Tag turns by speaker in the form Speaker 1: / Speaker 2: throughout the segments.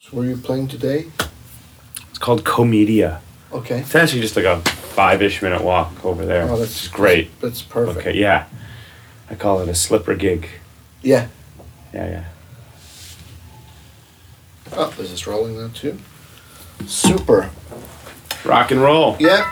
Speaker 1: So where are you playing today?
Speaker 2: It's called Comedia.
Speaker 1: Okay.
Speaker 2: It's actually just like a five-ish minute walk over there.
Speaker 1: Oh, that's
Speaker 2: it's great.
Speaker 1: That's perfect.
Speaker 2: Okay, yeah. I call it a slipper gig.
Speaker 1: Yeah.
Speaker 2: Yeah, yeah.
Speaker 1: Oh, is this rolling now too? Super.
Speaker 2: Rock and roll.
Speaker 1: Yeah.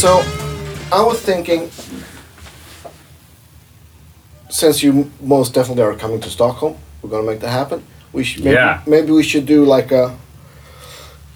Speaker 1: So, I was thinking, since you most definitely are coming to Stockholm, we're gonna make that happen. We should maybe,
Speaker 2: Yeah.
Speaker 1: maybe we should do like a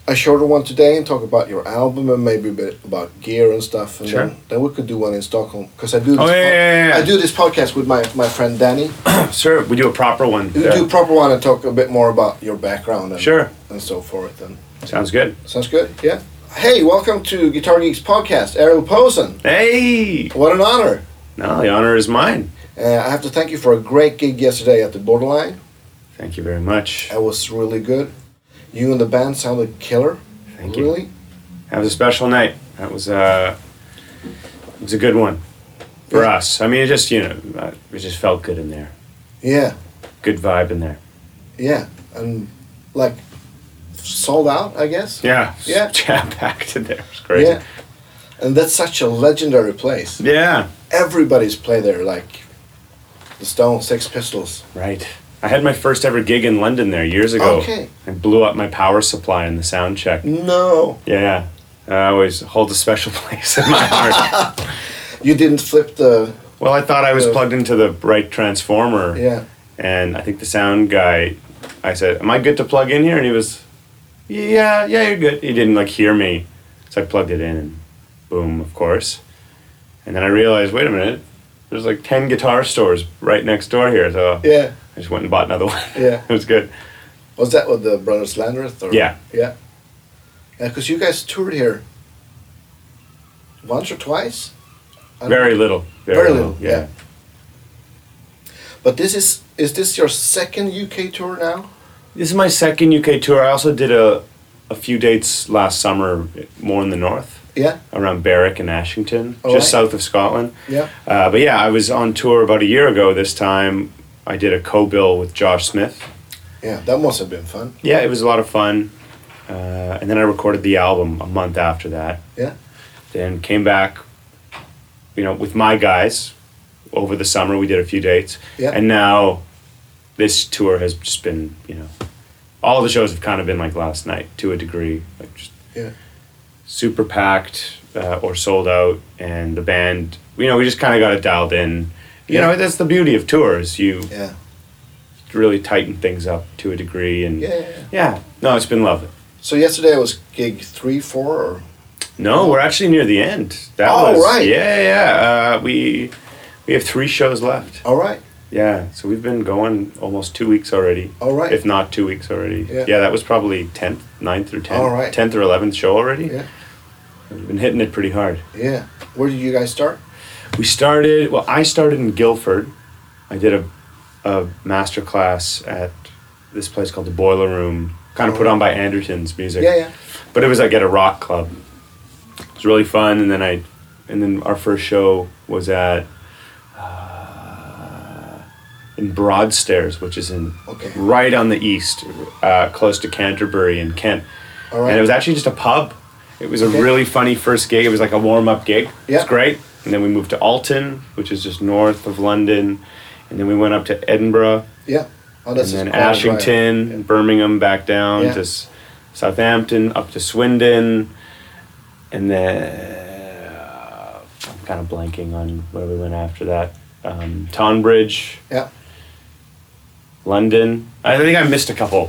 Speaker 1: a shorter one today and talk about your album and maybe a bit about gear and stuff, and
Speaker 2: Sure.
Speaker 1: then, then we could do one in Stockholm because I do this
Speaker 2: Oh, yeah, yeah, yeah, yeah.
Speaker 1: I do this podcast with my my friend Danny.
Speaker 2: Sure, we do a proper one.
Speaker 1: We
Speaker 2: there.
Speaker 1: do a proper one and talk a bit more about your background and
Speaker 2: Sure.
Speaker 1: and so forth. And
Speaker 2: Sounds good.
Speaker 1: sounds good, yeah. Hey, welcome to Guitar Geeks podcast, Ariel Posen.
Speaker 2: Hey!
Speaker 1: What an honor.
Speaker 2: No, the honor is mine.
Speaker 1: Uh, I have to thank you for a great gig yesterday at the Borderline.
Speaker 2: Thank you very much.
Speaker 1: That was really good. You and the band sounded killer.
Speaker 2: Thank you.
Speaker 1: really.
Speaker 2: That was a special night. That was uh, it was a good one for
Speaker 1: Yeah.
Speaker 2: us. I mean, it just you know, uh, it just felt good in there.
Speaker 1: Yeah,
Speaker 2: Good vibe in there.
Speaker 1: yeah, and like sold out, I guess.
Speaker 2: Yeah,
Speaker 1: Yeah.
Speaker 2: jam packed in there. It was crazy.
Speaker 1: Yeah. And that's such a legendary place.
Speaker 2: yeah,
Speaker 1: Everybody's played there, like the Stone, Sex Pistols.
Speaker 2: right. I had my first ever gig in London there years ago.
Speaker 1: Okay.
Speaker 2: I blew up my power supply in the sound check.
Speaker 1: No,
Speaker 2: Yeah, I always hold a special place in my heart.
Speaker 1: you didn't flip the.
Speaker 2: well, I thought I was
Speaker 1: Yeah.
Speaker 2: plugged into the right transformer.
Speaker 1: Yeah,
Speaker 2: And I think the sound guy, I said, "Am I good to plug in here?" And he was, "Yeah, yeah, you're good." He didn't like hear me, so I plugged it in, and boom, of course. And then I realized, wait a minute, there's like ten guitar stores right next door here, so
Speaker 1: yeah.
Speaker 2: I just went and bought another one.
Speaker 1: Yeah.
Speaker 2: it was good.
Speaker 1: Was that with the Brothers Landreth? Or?
Speaker 2: Yeah.
Speaker 1: Yeah. Yeah, because you guys toured here once or twice? I don't-
Speaker 2: Very little. Very,
Speaker 1: Very
Speaker 2: little.
Speaker 1: little, yeah. But this is, is this your second UK tour now?
Speaker 2: This is my second UK tour. I also did a, a few dates last summer, more in the north,
Speaker 1: Yeah,
Speaker 2: around Berwick and Ashington,
Speaker 1: Oh,
Speaker 2: just
Speaker 1: right.
Speaker 2: south of Scotland.
Speaker 1: yeah.
Speaker 2: Uh, but yeah, I was on tour about a year ago this time. I did a co bill with Josh Smith.
Speaker 1: Yeah, that must have been fun.
Speaker 2: Yeah, it was a lot of fun. Uh, and then I recorded the album a month after that.
Speaker 1: Yeah.
Speaker 2: Then came back, you know, with my guys over the summer. We did a few dates.
Speaker 1: Yeah.
Speaker 2: And now this tour has just been, you know, all the shows have kind of been like last night to a degree, like just
Speaker 1: Yeah.
Speaker 2: super packed uh, or sold out, and the band, you know, we just kind of got it dialed in. You
Speaker 1: Yeah.
Speaker 2: know, that's the beauty of tours. You
Speaker 1: Yeah.
Speaker 2: really tighten things up to a degree, and
Speaker 1: Yeah, yeah, yeah.
Speaker 2: yeah. no, it's been lovely.
Speaker 1: So yesterday was gig three, four, or
Speaker 2: No, we're actually near the end. That
Speaker 1: Oh,
Speaker 2: was,
Speaker 1: right.
Speaker 2: Yeah, yeah. Uh, we we have three shows left.
Speaker 1: all right,
Speaker 2: Yeah, so we've been going almost two weeks already.
Speaker 1: all right,
Speaker 2: If not two weeks already.
Speaker 1: Yeah.
Speaker 2: that was probably 10th, 9th or 10th.
Speaker 1: All right.
Speaker 2: 10th or 11th show already.
Speaker 1: Yeah.
Speaker 2: We've been hitting it pretty hard.
Speaker 1: yeah. Where did you guys start?
Speaker 2: We started, well, I started in Guildford. I did a, a master class at this place called the Boiler Room, kind of put on by Anderton's music.
Speaker 1: Yeah, yeah.
Speaker 2: But it was like at a rock club. It was really fun. And then I, and then our first show was at, uh, in Broadstairs, which is in
Speaker 1: Okay.
Speaker 2: right on the east, uh, close to Canterbury in Kent.
Speaker 1: All right.
Speaker 2: And it was actually just a pub. It was
Speaker 1: Okay.
Speaker 2: a really funny first gig. It was like a warm up gig. It was
Speaker 1: Yeah.
Speaker 2: great. And then we moved to Alton, which is just north of London. And then we went up to Edinburgh
Speaker 1: yeah. Oh, that's
Speaker 2: and then
Speaker 1: quite a drive.
Speaker 2: Ashington, Birmingham, back down
Speaker 1: Yeah.
Speaker 2: to S- Southampton, up to Swindon. And then uh, I'm kind of blanking on where we went after that. Um, Tonbridge,
Speaker 1: Yeah,
Speaker 2: London. I think I missed a couple,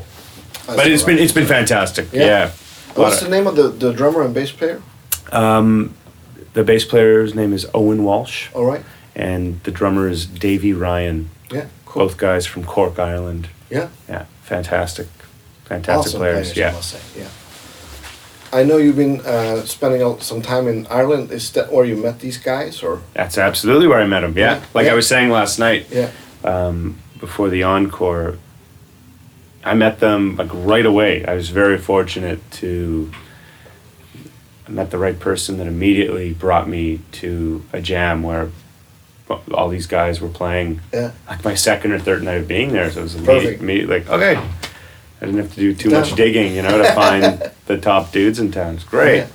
Speaker 1: That's
Speaker 2: but it's
Speaker 1: all right.
Speaker 2: been it's been fantastic.
Speaker 1: Yeah.
Speaker 2: Yeah. A lot
Speaker 1: What's
Speaker 2: of-
Speaker 1: the name of the, the drummer and bass player?
Speaker 2: The bass player's name is Owen Walsh,
Speaker 1: All right,
Speaker 2: and the drummer is Davey Ryan.
Speaker 1: yeah, cool.
Speaker 2: Both guys from Cork, Ireland.
Speaker 1: Yeah,
Speaker 2: Yeah, fantastic, fantastic
Speaker 1: awesome I
Speaker 2: players. Yeah,
Speaker 1: must say. Yeah. I know you've been uh, spending a- some time in Ireland. Is that where you met these guys, or
Speaker 2: that's absolutely where I met him. Yeah,
Speaker 1: Yeah.
Speaker 2: like
Speaker 1: Yeah.
Speaker 2: I was saying last night
Speaker 1: yeah,
Speaker 2: before the encore, I met them like right away. I was very fortunate to I met the right person that immediately brought me to a jam where all these guys were playing
Speaker 1: Yeah.
Speaker 2: like my second or third night of being there. So it was
Speaker 1: Perfect.
Speaker 2: immediate, immediate, like, okay, I didn't have to do too much
Speaker 1: Done.
Speaker 2: digging, you know, to find the top dudes in town. It's great.
Speaker 1: Yeah.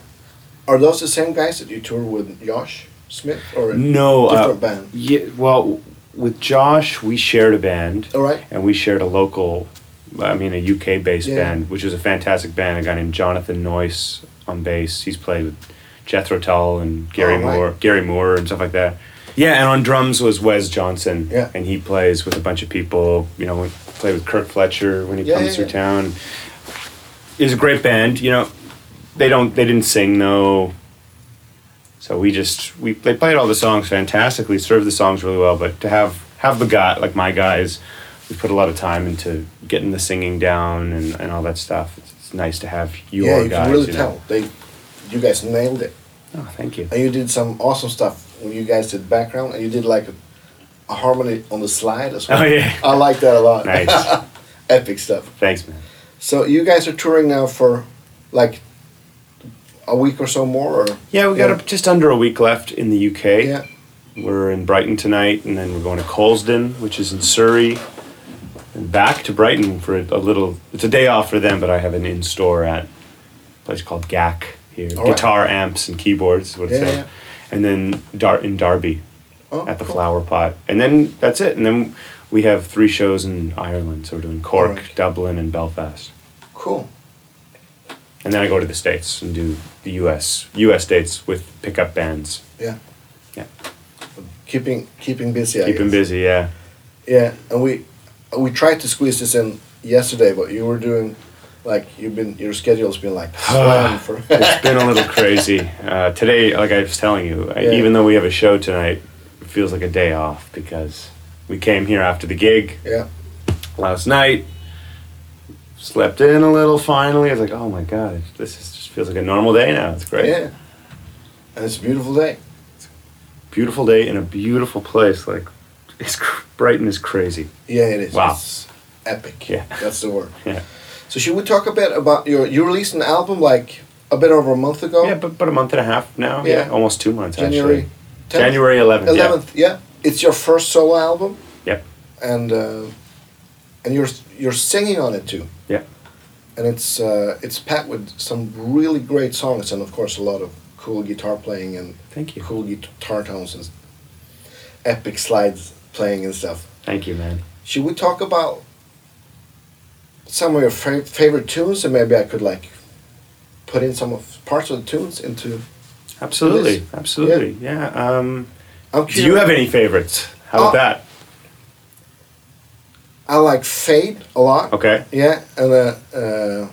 Speaker 1: Are those the same guys that you toured with Josh Smith or a
Speaker 2: No, uh,
Speaker 1: different band?
Speaker 2: Yeah, well, with Josh, we shared a band.
Speaker 1: All right.
Speaker 2: and we shared a local, I mean, a UK based
Speaker 1: Yeah.
Speaker 2: band, which is a fantastic band. A guy named Jonathan Noyce on bass. He's played with Jethro Tull and Gary
Speaker 1: Oh, right.
Speaker 2: Moore, Gary Moore, and stuff like that. Yeah, and on drums was Wes Johnson.
Speaker 1: Yeah.
Speaker 2: and he plays with a bunch of people. You know, we play with Kirk Fletcher when he
Speaker 1: Yeah,
Speaker 2: comes
Speaker 1: yeah,
Speaker 2: through
Speaker 1: yeah.
Speaker 2: town. It's a great band. You know, they don't they didn't sing though. So we just we they played all the songs fantastically, served the songs really well, but to have have the guy like my guys, we put a lot of time into getting the singing down and, and all that stuff. It's, it's nice to have your
Speaker 1: yeah, you
Speaker 2: guys.
Speaker 1: can really
Speaker 2: you know.
Speaker 1: tell. They, you guys nailed it.
Speaker 2: Oh, thank you.
Speaker 1: And you did some awesome stuff when you guys did background and you did like a, a harmony on the slide as well.
Speaker 2: Oh, yeah.
Speaker 1: I like that a lot.
Speaker 2: Nice.
Speaker 1: Epic stuff.
Speaker 2: Thanks, man.
Speaker 1: So you guys are touring now for like a week or so more or
Speaker 2: Yeah, we got
Speaker 1: Yeah.
Speaker 2: up just under a week left in the UK.
Speaker 1: yeah.
Speaker 2: We're in Brighton tonight, and then we're going to Colesden, which is in Surrey, and back to Brighton for a little. It's a day off for them, but I have an in store at a place called GAC here.
Speaker 1: All right.
Speaker 2: Guitar amps and keyboards, is what it
Speaker 1: Yeah,
Speaker 2: says.
Speaker 1: yeah.
Speaker 2: And then Dar- in Derby
Speaker 1: Oh,
Speaker 2: at the
Speaker 1: cool.
Speaker 2: Flower Pot. And then that's it. And then we have three shows in Ireland. So we're doing Cork,
Speaker 1: right.
Speaker 2: Dublin, and Belfast.
Speaker 1: Cool.
Speaker 2: And then I go to the States and do the US, US dates with pickup bands.
Speaker 1: Yeah.
Speaker 2: Yeah.
Speaker 1: Keeping keeping busy. I
Speaker 2: Keep 'em Keep them
Speaker 1: guess.
Speaker 2: busy, yeah.
Speaker 1: Yeah, and we we tried to squeeze this in yesterday, but you were doing like you've been your schedule's been like slammed for
Speaker 2: it's been a little crazy uh, today. Like I was telling you, I,
Speaker 1: Yeah.
Speaker 2: even though we have a show tonight, it feels like a day off because we came here after the gig
Speaker 1: yeah.
Speaker 2: last night, slept in a little. Finally, I was like, oh my god, this is, just feels like a normal day now. It's great,
Speaker 1: Yeah. And it's a beautiful day.
Speaker 2: beautiful day in a beautiful place. Like, it's cr- Brighton is crazy.
Speaker 1: Yeah, it is.
Speaker 2: Wow.
Speaker 1: It's epic.
Speaker 2: Yeah.
Speaker 1: That's the word.
Speaker 2: Yeah,
Speaker 1: So should we talk a bit about your you released an album like a bit over a month ago?
Speaker 2: yeah, but, but a month and a half now. Yeah,
Speaker 1: Oh. Yeah.
Speaker 2: almost two months
Speaker 1: January
Speaker 2: actually. January eleventh. Yeah.
Speaker 1: eleventh, yeah. It's your first solo album
Speaker 2: Yep.
Speaker 1: and uh, and you're you're singing on it too.
Speaker 2: Yeah.
Speaker 1: and it's uh, it's packed with some really great songs and of course a lot of cool guitar playing and
Speaker 2: Thank you.
Speaker 1: cool guitar tones and epic slides playing and stuff.
Speaker 2: Thank you, man.
Speaker 1: Should we talk about some of your fa- favorite tunes and maybe I could like put in some of parts of the tunes into.
Speaker 2: Absolutely, absolutely. Yeah. Um,
Speaker 1: I'm
Speaker 2: Do you
Speaker 1: curious-
Speaker 2: have any favorites? How about
Speaker 1: Oh.
Speaker 2: that?
Speaker 1: I like Fade a lot.
Speaker 2: Okay.
Speaker 1: Yeah, and uh, uh,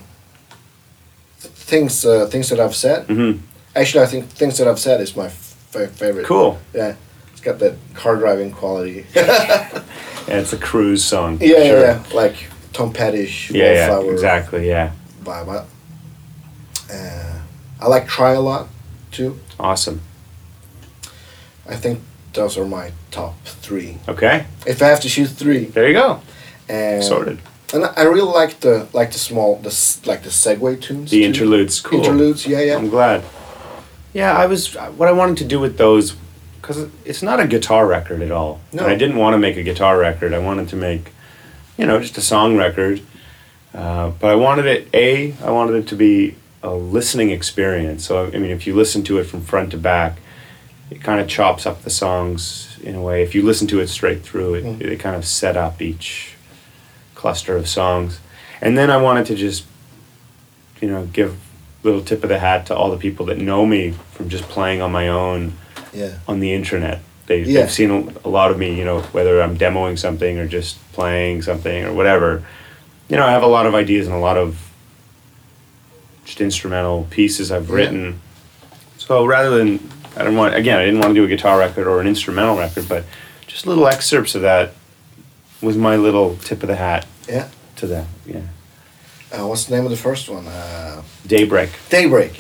Speaker 1: things uh, things that I've said.
Speaker 2: hmm
Speaker 1: Actually, I think things that I've said is my f- favorite.
Speaker 2: Cool.
Speaker 1: Yeah, it's got that car driving quality.
Speaker 2: Yeah, it's a cruise song.
Speaker 1: Yeah,
Speaker 2: sure.
Speaker 1: yeah, yeah. Like Tom Pettish,
Speaker 2: Yeah, yeah,
Speaker 1: Wallflower
Speaker 2: exactly. Yeah,
Speaker 1: vibe. Uh, I like Try a lot too.
Speaker 2: awesome.
Speaker 1: I think those are my top three.
Speaker 2: Okay,
Speaker 1: If I have to choose three,
Speaker 2: there you go.
Speaker 1: and
Speaker 2: Sorted.
Speaker 1: And I I really like the like the small the s- like the segue tunes.
Speaker 2: The
Speaker 1: too.
Speaker 2: interludes, cool. Um,
Speaker 1: Interludes, yeah, yeah.
Speaker 2: I'm glad. Yeah, I was. What I wanted to do with those, because it's not a guitar record at all.
Speaker 1: No.
Speaker 2: And I didn't want to make a guitar record. I wanted to make, you know, just a song record. Uh, but I wanted it. A, I wanted it to be a listening experience. So I mean, if you listen to it from front to back, it kind of chops up the songs in a way. If you listen to it straight through, it they kind of set up each cluster of songs. And then I wanted to just, you know, give little tip of the hat to all the people that know me from just playing on my own
Speaker 1: yeah.
Speaker 2: on the internet. They,
Speaker 1: Yeah.
Speaker 2: They've seen a, a lot of me, you know, whether I'm demoing something or just playing something or whatever. You know, I have a lot of ideas and a lot of just instrumental pieces I've
Speaker 1: Yeah.
Speaker 2: written. So rather than, I don't want, again, I didn't want to do a guitar record or an instrumental record, but just little excerpts of that was my little tip of the hat
Speaker 1: Yeah.
Speaker 2: to them. Yeah.
Speaker 1: Uh, what's the name of the first one? Uh,
Speaker 2: Daybreak.
Speaker 1: Daybreak.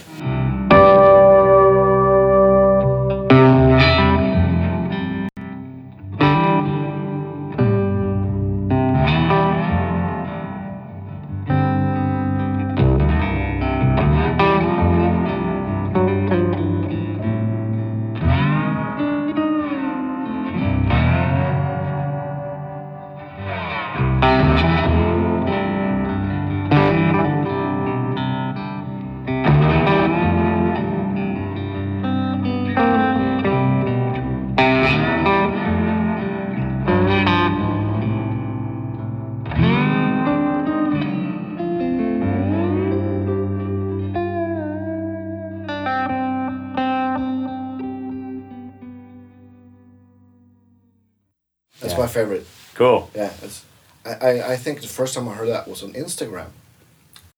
Speaker 1: favorite.
Speaker 2: Cool.
Speaker 1: Yeah, it's, I, I, I think the first time I heard that was on Instagram.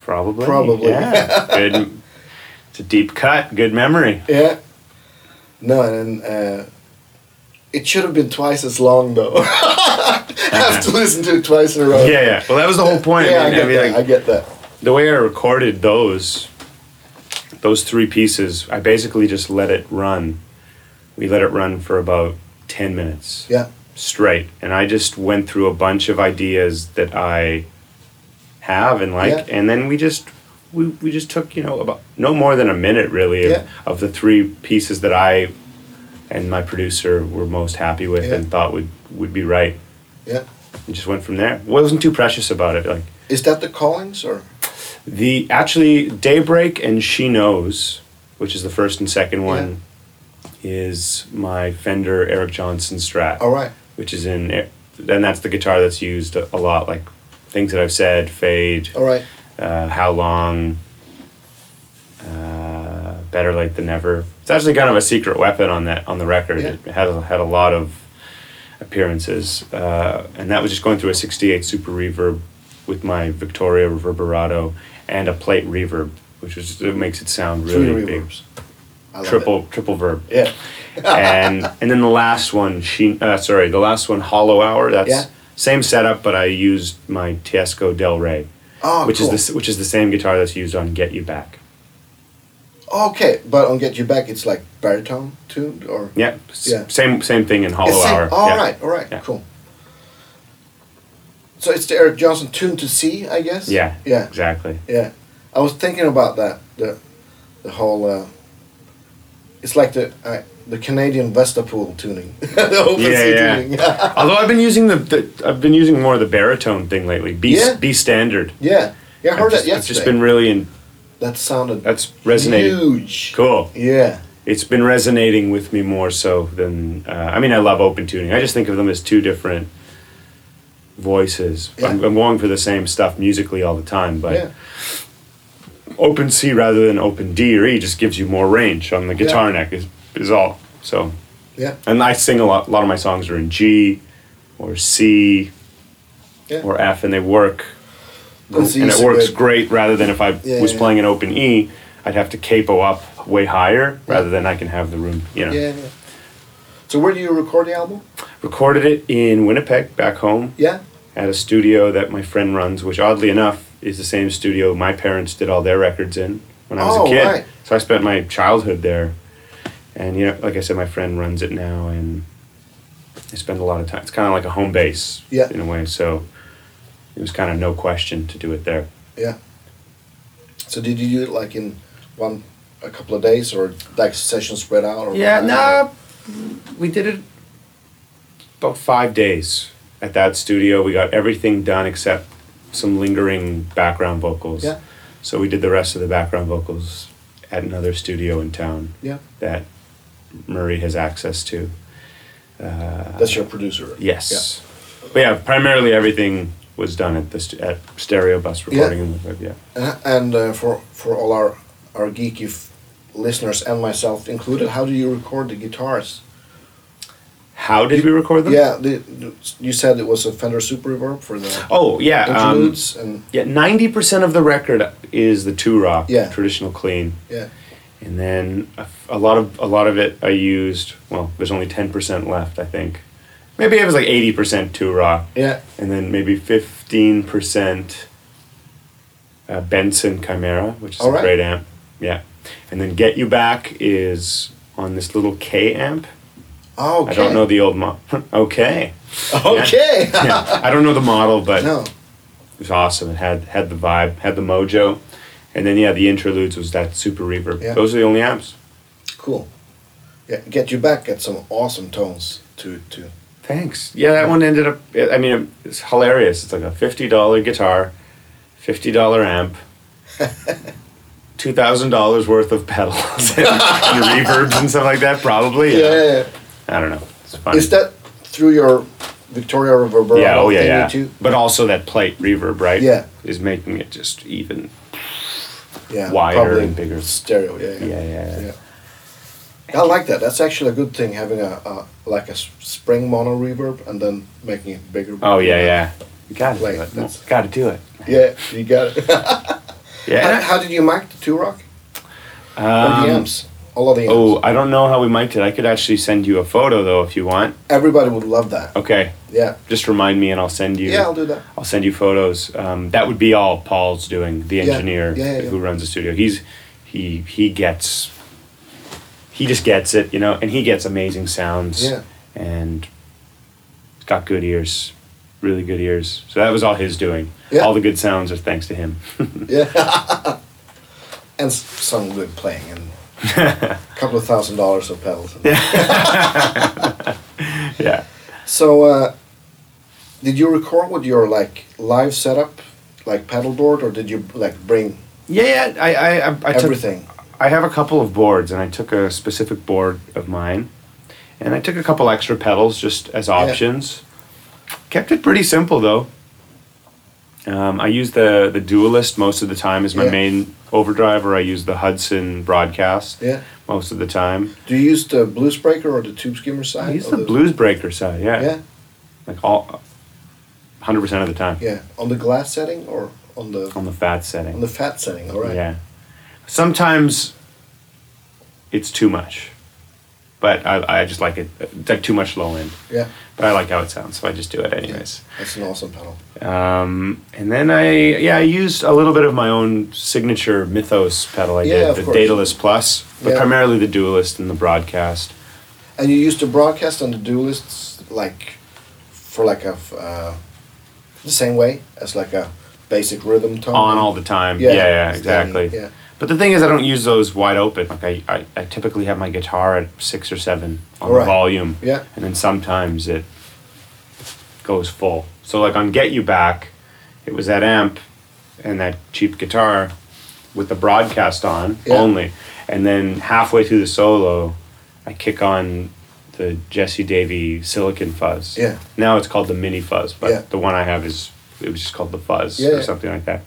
Speaker 2: Probably.
Speaker 1: Probably.
Speaker 2: Yeah. Good. It's a deep cut. Good memory.
Speaker 1: Yeah. No, and uh, it should have been twice as long though. I have to listen to it twice in a row.
Speaker 2: Uh-huh. Yeah, yeah. Well, that was the whole point.
Speaker 1: Oh. Yeah, I
Speaker 2: mean,
Speaker 1: get,
Speaker 2: mean,
Speaker 1: that.
Speaker 2: like,
Speaker 1: I get that.
Speaker 2: the way I recorded those those three pieces, I basically just let it run. We let it run for about 10 minutes
Speaker 1: Yeah,
Speaker 2: straight and I just went through a bunch of ideas that I have and like
Speaker 1: Yeah.
Speaker 2: and then we just we, we just took, you know, about no more than a minute really of,
Speaker 1: Yeah.
Speaker 2: of the three pieces that I and my producer were most happy with
Speaker 1: Yeah.
Speaker 2: and thought would would be right.
Speaker 1: yeah.
Speaker 2: And just went from there. Wasn't too precious about it like
Speaker 1: Is that the callings or?
Speaker 2: the actually Daybreak and She Knows, which is the first and second one, is my Fender Eric Johnson Strat,
Speaker 1: All right.
Speaker 2: which is in and that's the guitar that's used a a lot, like things that I've said, fade,
Speaker 1: All right.
Speaker 2: uh, how long, uh, better late than never. It's actually kind of a secret weapon on that on the record.
Speaker 1: Yeah.
Speaker 2: It had a, had a lot of appearances, uh, and that was just going through a '68 Super Reverb with my Victoria Reverberato and a plate reverb, which is it makes it sound really
Speaker 1: Three
Speaker 2: big.
Speaker 1: reverbs. I love it.
Speaker 2: Triple triple verb
Speaker 1: Yeah.
Speaker 2: and and then the last one, she uh, sorry, the last one, Hollow Hour. That's
Speaker 1: Yeah.
Speaker 2: same setup, but I used my Tiesco Del Rey,
Speaker 1: Oh,
Speaker 2: which
Speaker 1: cool.
Speaker 2: is the s- which is the same guitar that's used on Get You Back.
Speaker 1: Okay, but on Get You Back, it's like baritone tuned or.
Speaker 2: Yeah, s-
Speaker 1: Yeah.
Speaker 2: same same thing in Hollow
Speaker 1: It's same-
Speaker 2: Hour.
Speaker 1: All
Speaker 2: yeah.
Speaker 1: right, all right,
Speaker 2: Yeah.
Speaker 1: cool. So it's the Eric Johnson tune to C, I guess.
Speaker 2: yeah,
Speaker 1: Yeah.
Speaker 2: exactly.
Speaker 1: Yeah, I was thinking about that. The, the whole. Uh, it's like the uh, the Canadian Vestapool tuning, the open
Speaker 2: Yeah,
Speaker 1: C
Speaker 2: yeah.
Speaker 1: tuning. Yeah.
Speaker 2: Although I've been using the, the I've been using more of the baritone thing lately. B
Speaker 1: Yeah.
Speaker 2: B standard.
Speaker 1: yeah, I
Speaker 2: I've
Speaker 1: heard
Speaker 2: just,
Speaker 1: that yesterday.
Speaker 2: I've just been really in.
Speaker 1: that sounded
Speaker 2: That's resonated.
Speaker 1: huge.
Speaker 2: Cool.
Speaker 1: Yeah,
Speaker 2: It's been resonating with me more so than uh, I mean I love open tuning. I just think of them as two different voices. I'm,
Speaker 1: Yeah.
Speaker 2: I'm going for the same stuff musically all the time, but
Speaker 1: yeah,
Speaker 2: open C rather than open D or E just gives you more range on the guitar neck is is all. So
Speaker 1: yeah,
Speaker 2: and I sing a lot. A lot of my songs are in G or C
Speaker 1: yeah.
Speaker 2: or F, and they work.
Speaker 1: And so you
Speaker 2: and it
Speaker 1: sing
Speaker 2: works
Speaker 1: it-
Speaker 2: great rather than if I
Speaker 1: Yeah,
Speaker 2: was
Speaker 1: yeah.
Speaker 2: playing an open E, I'd have to capo up way higher rather than I can have the room, you know.
Speaker 1: yeah, yeah. So where do you record the album?
Speaker 2: Recorded it in Winnipeg, back home,
Speaker 1: Yeah.
Speaker 2: at a studio that my friend runs, which oddly enough is the same studio my parents did all their records in when I was
Speaker 1: Oh,
Speaker 2: a kid.
Speaker 1: right.
Speaker 2: So I spent my childhood there. And, you know, like I said, my friend runs it now, and I spend a lot of time. It's kind of like a home base
Speaker 1: Yeah.
Speaker 2: in a way. So it was kind of no question to do it there.
Speaker 1: Yeah. So did you do it like in one, a couple of days, or like sessions spread out? Or
Speaker 2: Yeah,
Speaker 1: or-
Speaker 2: no, we did it about five days at that studio. We got everything done except some lingering background vocals.
Speaker 1: Yeah.
Speaker 2: So we did the rest of the background vocals at another studio in town
Speaker 1: Yeah.
Speaker 2: that Murray has access to.
Speaker 1: That's your producer.
Speaker 2: Yes. But yeah, primarily everything was done at this at Stereo Bus Recording in Winnipeg. Yeah.
Speaker 1: Yeah. And- And uh, for for all our our geeky f- listeners and myself included, how do you record the guitars?
Speaker 2: How did we record them?
Speaker 1: Yeah, the, the- you said it was a Fender Super Reverb for the
Speaker 2: Oh yeah. um,
Speaker 1: interludes and
Speaker 2: yeah. Ninety percent of the record is the two rock
Speaker 1: Yeah.
Speaker 2: traditional clean.
Speaker 1: yeah,
Speaker 2: and then a, a lot of a lot of it I used. Well, there's only ten percent left, I think. Maybe it was like eighty percent two rock,
Speaker 1: yeah,
Speaker 2: and then maybe fifteen percent uh, Benson Chimera, which is
Speaker 1: All
Speaker 2: a
Speaker 1: right.
Speaker 2: great amp. Yeah, and then Get You Back is on this little K amp.
Speaker 1: Oh, okay.
Speaker 2: I don't know the old mo okay.
Speaker 1: Okay.
Speaker 2: Yeah. I don't know the model, but
Speaker 1: no.
Speaker 2: it was awesome. It had had the vibe, had the mojo, and then yeah, the interludes was that super reverb.
Speaker 1: Yeah.
Speaker 2: Those are the only amps.
Speaker 1: Cool. Yeah, get you back at some awesome tones to to.
Speaker 2: Thanks. Yeah, that one ended up. I mean, it's hilarious. It's like a fifty dollar guitar, fifty dollar amp, two thousand dollars worth of pedals and, and reverbs and stuff like that. Probably.
Speaker 1: yeah.
Speaker 2: I don't know. It's fun.
Speaker 1: Is that through your Victoria Reverberato
Speaker 2: yeah. Oh yeah.
Speaker 1: thing
Speaker 2: Yeah.
Speaker 1: too?
Speaker 2: But also that plate reverb, right?
Speaker 1: Yeah.
Speaker 2: Is making it just even.
Speaker 1: Yeah,
Speaker 2: Wider
Speaker 1: probably
Speaker 2: and bigger.
Speaker 1: stereo. Yeah,
Speaker 2: Yeah, yeah, yeah.
Speaker 1: I like that. That's actually a good thing having a, a like a s- spring mono reverb and then making it bigger.
Speaker 2: Oh yeah, yeah. You gotta do
Speaker 1: Like,
Speaker 2: it.
Speaker 1: that's-
Speaker 2: Gotta do it.
Speaker 1: Yeah, you got it. how,
Speaker 2: Yeah.
Speaker 1: how did you mic the two rock? Or
Speaker 2: Um,
Speaker 1: the amps? All of the amps.
Speaker 2: Oh, I don't know how we mic'd it. I could actually send you a photo though if you want.
Speaker 1: Everybody would love that.
Speaker 2: Okay.
Speaker 1: Yeah.
Speaker 2: Just remind me and I'll send you.
Speaker 1: Yeah, I'll do that.
Speaker 2: I'll send you photos. Um, that would be all Paul's doing, the
Speaker 1: Yeah,
Speaker 2: engineer
Speaker 1: yeah, yeah,
Speaker 2: who
Speaker 1: yeah.
Speaker 2: runs the studio. He's he he gets he just gets it, you know, and he gets amazing sounds.
Speaker 1: Yeah.
Speaker 2: And he's got good ears. Really good ears. So that was all his doing.
Speaker 1: Yeah.
Speaker 2: All the good sounds are thanks to him.
Speaker 1: Yeah. and s- some good playing and a couple of thousand dollars of pedals.
Speaker 2: yeah.
Speaker 1: So, uh, did you record with your like live setup, like pedal board, or did you like bring
Speaker 2: Yeah, yeah. I I I, I took-
Speaker 1: everything?
Speaker 2: I have a couple of boards, and I took a specific board of mine, and I took a couple extra pedals just as options. Kept it pretty simple though. Um, I use the the Dualist most of the time as my
Speaker 1: Yeah.
Speaker 2: main overdrive, or I use the Hudson Broadcast
Speaker 1: Yeah.
Speaker 2: most of the time.
Speaker 1: Do you use the blues breaker or the tube skimmer side?
Speaker 2: I use
Speaker 1: or
Speaker 2: the Blues Breaker side, yeah,
Speaker 1: Yeah,
Speaker 2: like all, hundred percent of the time
Speaker 1: yeah. On the glass setting or on the
Speaker 2: on the fat setting.
Speaker 1: on the fat setting? All right.
Speaker 2: Yeah. Sometimes it's too much, but I, I just like it. It's like too much low end,
Speaker 1: Yeah.
Speaker 2: but I like how it sounds, so I just do it anyways.
Speaker 1: That's an awesome pedal.
Speaker 2: Um, and then I yeah I used a little bit of my own signature Mythos pedal. I
Speaker 1: Yeah, of
Speaker 2: did the
Speaker 1: course.
Speaker 2: Dataless Plus, but
Speaker 1: Yeah.
Speaker 2: primarily the Dualist and the Broadcast.
Speaker 1: And you used the broadcast and the dualists like for like a f- uh, the same way as like a basic rhythm tone.
Speaker 2: on all the time.
Speaker 1: Yeah,
Speaker 2: Yeah, yeah,
Speaker 1: standing,
Speaker 2: exactly.
Speaker 1: yeah.
Speaker 2: But the thing is, I don't use those wide open. Like I, I, I typically have my guitar at six or seven on
Speaker 1: Right.
Speaker 2: the volume.
Speaker 1: Yeah.
Speaker 2: And then sometimes it goes full. So like on Get You Back, it was that amp and that cheap guitar with the broadcast on
Speaker 1: Yeah.
Speaker 2: only. And then halfway through the solo, I kick on the Jesse Davy Silicon Fuzz.
Speaker 1: Yeah.
Speaker 2: Now it's called the Mini Fuzz, but
Speaker 1: Yeah.
Speaker 2: the one I have is it was just called the Fuzz
Speaker 1: Yeah,
Speaker 2: or
Speaker 1: yeah.
Speaker 2: something like that.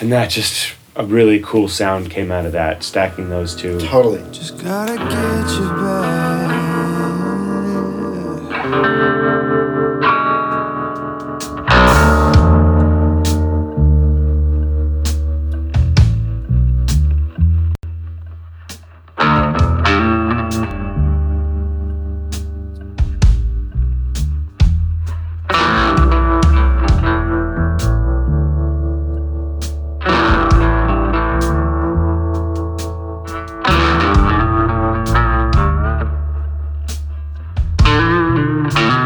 Speaker 2: And that just a really cool sound came out of that, stacking those two.
Speaker 1: Totally.
Speaker 3: Just gotta get you back.
Speaker 1: Yeah.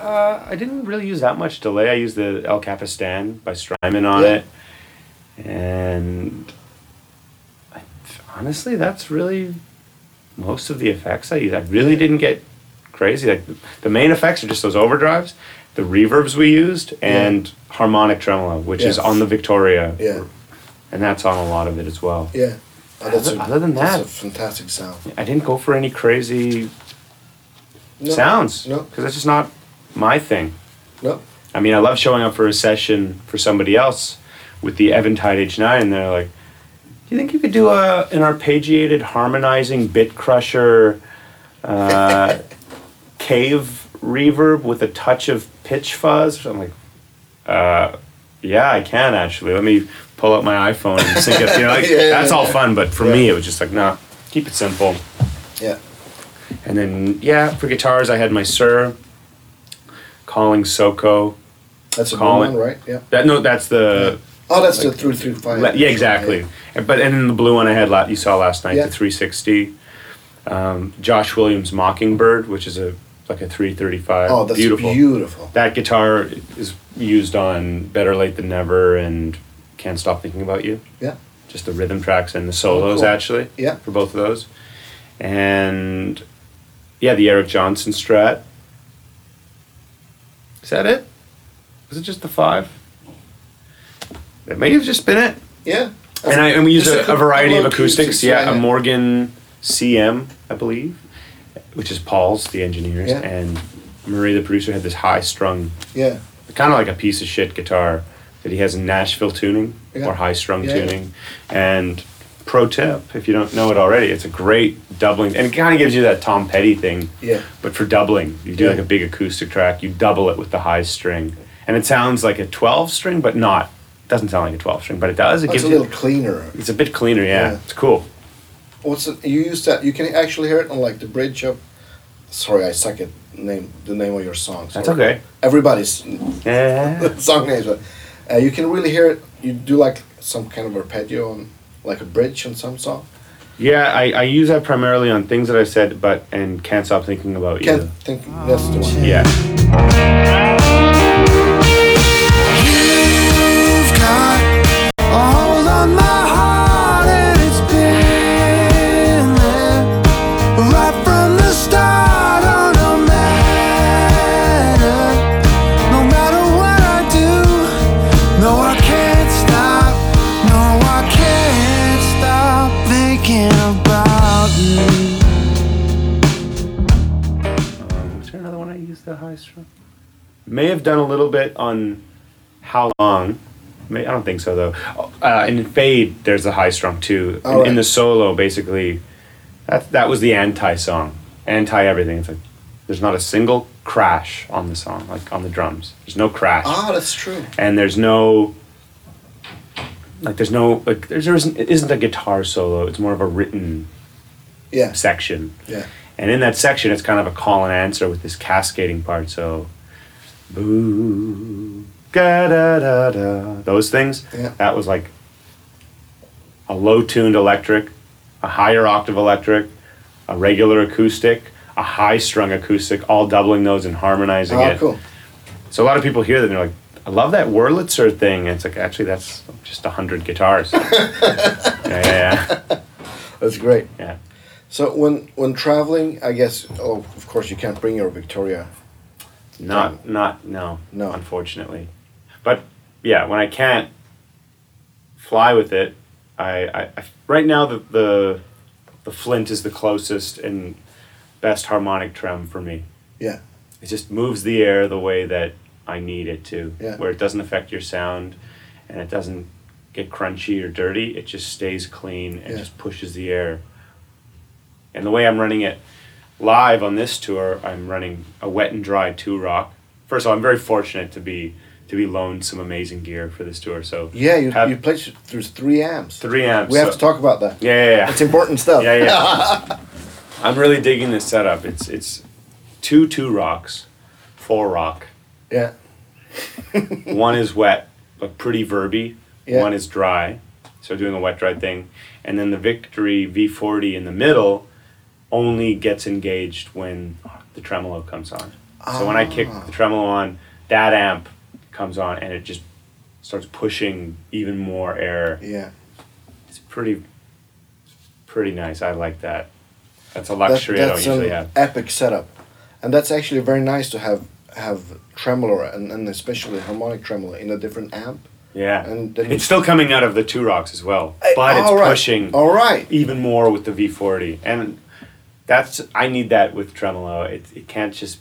Speaker 2: uh, I didn't really use that much delay. I used the El Capistan by Strymon on
Speaker 1: Yeah.
Speaker 2: it, and I, honestly, that's really most of the effects I used. I really didn't get crazy. Like the main effects are just those overdrives, the reverbs we used, and harmonic tremolo, which is
Speaker 1: Yes.
Speaker 2: on the Victoria,
Speaker 1: Yeah.
Speaker 2: and that's on a lot of it as well.
Speaker 1: Yeah. Oh, that's a,
Speaker 2: Other than
Speaker 1: that's
Speaker 2: that-
Speaker 1: a fantastic sound.
Speaker 2: I didn't go for any crazy
Speaker 1: No,
Speaker 2: sounds
Speaker 1: No,
Speaker 2: because that's just not my thing.
Speaker 1: no.
Speaker 2: I mean, I love showing up for a session for somebody else with the Eventide H9, and they're like, "Do you think you could do a an arpeggiated, harmonizing bit crusher, uh, cave reverb with a touch of pitch fuzz?" I'm like, uh, "Yeah, I can actually. Let me pull up my iPhone and sync it." You know, like,
Speaker 1: Yeah, yeah,
Speaker 2: that's all
Speaker 1: yeah.
Speaker 2: fun, but for me, it was just like, "Nah, keep it simple."
Speaker 1: Yeah.
Speaker 2: And then, yeah, for guitars, I had my Sir, calling Soko.
Speaker 1: That's a good
Speaker 2: Call
Speaker 1: one,
Speaker 2: it.
Speaker 1: right? Yeah.
Speaker 2: That no, that's the
Speaker 1: Oh, that's the through through five.
Speaker 2: Le- yeah, exactly. And- But and then the blue one I had la- you saw last night,
Speaker 1: Yeah.
Speaker 2: the 360. Um, Josh Williams Mockingbird, which is a like a 335.
Speaker 1: Oh, that's beautiful.
Speaker 2: That guitar is used on Better Late Than Never and Can't Stop Thinking About You.
Speaker 1: Yeah.
Speaker 2: Just the rhythm tracks and the solos
Speaker 1: Oh, cool.
Speaker 2: actually.
Speaker 1: Yeah.
Speaker 2: For both of those. And yeah, the Eric Johnson Strat. Is that it? Is it just the five? That may have just been it
Speaker 1: Yeah.
Speaker 2: and I and we use
Speaker 1: Just
Speaker 2: a, a variety of
Speaker 1: couple
Speaker 2: acoustics. Yeah, a
Speaker 1: yeah.
Speaker 2: Morgan CM, I believe, which is Paul's, the engineers,
Speaker 1: Yeah.
Speaker 2: and Marie, the producer, had this high strung,
Speaker 1: Yeah.
Speaker 2: kind of like a piece of shit guitar that he has in Nashville tuning
Speaker 1: Yeah.
Speaker 2: or high strung
Speaker 1: Yeah, yeah.
Speaker 2: tuning. And pro tip, if you don't know it already, it's a great doubling, and it kind of gives you that Tom Petty thing.
Speaker 1: Yeah.
Speaker 2: But for doubling, you do
Speaker 1: Yeah.
Speaker 2: like a big acoustic track, you double it with the high string, and it sounds like a twelve string, but not. Doesn't sound like a twelve string, but it does. It
Speaker 1: That's
Speaker 2: gives
Speaker 1: Oh, a
Speaker 2: you
Speaker 1: little cleaner.
Speaker 2: it's a bit cleaner, yeah.
Speaker 1: Yeah.
Speaker 2: It's cool.
Speaker 1: What's it, you use that? You can actually hear it on like the bridge of. Sorry, I suck at name the name of your songs.
Speaker 2: That's
Speaker 1: or
Speaker 2: okay.
Speaker 1: Everybody's
Speaker 2: Yeah.
Speaker 1: song names, but uh, you can really hear it. You do like some kind of arpeggio on like a bridge on some song.
Speaker 2: yeah, I, I use that primarily on things that I said, but and can't stop thinking about you.
Speaker 1: Can't think that's the one.
Speaker 2: Yeah.
Speaker 3: You've got a hold on my heart, and it's been there right from the start. Oh, no matter, no matter what I do, no, I can't stop, no, I can't stop thinking about you.
Speaker 2: Um, was there another one I used the highest from? May have done a little bit on how long. May, I don't think so though. Uh, in fade, there's a high strum too. In,
Speaker 1: All right.
Speaker 2: in the solo, basically, that that was the anti song, anti everything. It's like there's not a single crash on the song, like on the drums. There's no crash.
Speaker 1: Ah, that's true.
Speaker 2: and there's no like there's no like there's, there isn't it isn't a guitar solo it's more of a written
Speaker 1: Yeah.
Speaker 2: section
Speaker 1: Yeah.
Speaker 2: and in that section it's kind of a call and answer with this cascading part so boo ga da da da those things
Speaker 1: Yeah.
Speaker 2: that was like a low tuned electric a higher octave electric a regular acoustic a high strung acoustic all doubling those and harmonizing
Speaker 1: Oh,
Speaker 2: it
Speaker 1: cool.
Speaker 2: so a lot of people hear that and they're like, I love that Wurlitzer thing. And it's like, actually, that's just 100 guitars. yeah, yeah, yeah.
Speaker 1: That's great.
Speaker 2: yeah.
Speaker 1: So when when traveling, I guess oh, of course you can't bring your Victoria.
Speaker 2: Not, not, no,
Speaker 1: No.
Speaker 2: unfortunately. But yeah, when I can't fly with it, I, I, I right now the, the, the Flint is the closest and best harmonic trem for me.
Speaker 1: Yeah.
Speaker 2: it just moves the air the way that I need it to,
Speaker 1: Yeah.
Speaker 2: where it doesn't affect your sound and it doesn't get crunchy or dirty. It just stays clean and
Speaker 1: Yeah.
Speaker 2: just pushes the air. And the way I'm running it live on this tour, I'm running a wet and dry two rock. First of all, I'm very fortunate to be to be loaned some amazing gear for this tour. So
Speaker 1: Yeah, you,
Speaker 2: have
Speaker 1: you played through three amps.
Speaker 2: three amps.
Speaker 1: We have
Speaker 2: so-
Speaker 1: to talk about that.
Speaker 2: Yeah, yeah, yeah.
Speaker 1: It's important stuff.
Speaker 2: Yeah, yeah. I'm really digging this setup. It's it's two two rocks, four rock.
Speaker 1: Yeah.
Speaker 2: one is wet, but pretty verby.
Speaker 1: Yeah.
Speaker 2: One is dry, so doing a wet dry thing, and then the Victory V40 in the middle only gets engaged when the tremolo comes on. So when I kick
Speaker 1: Ah.
Speaker 2: the tremolo on, that amp comes on and it just starts pushing even more air.
Speaker 1: Yeah.
Speaker 2: It's pretty, pretty nice. I like that. That's a
Speaker 1: That-
Speaker 2: luxury
Speaker 1: that's
Speaker 2: I don't usually
Speaker 1: an
Speaker 2: have.
Speaker 1: epic setup, and that's actually very nice to have have tremolo and, and especially harmonic tremolo in a different amp.
Speaker 2: Yeah,
Speaker 1: and then-
Speaker 2: it's still coming out of the two rocks as well, but it's
Speaker 1: All right,
Speaker 2: pushing
Speaker 1: All right.
Speaker 2: even more with the V40, and that's I need that with tremolo. It it can't just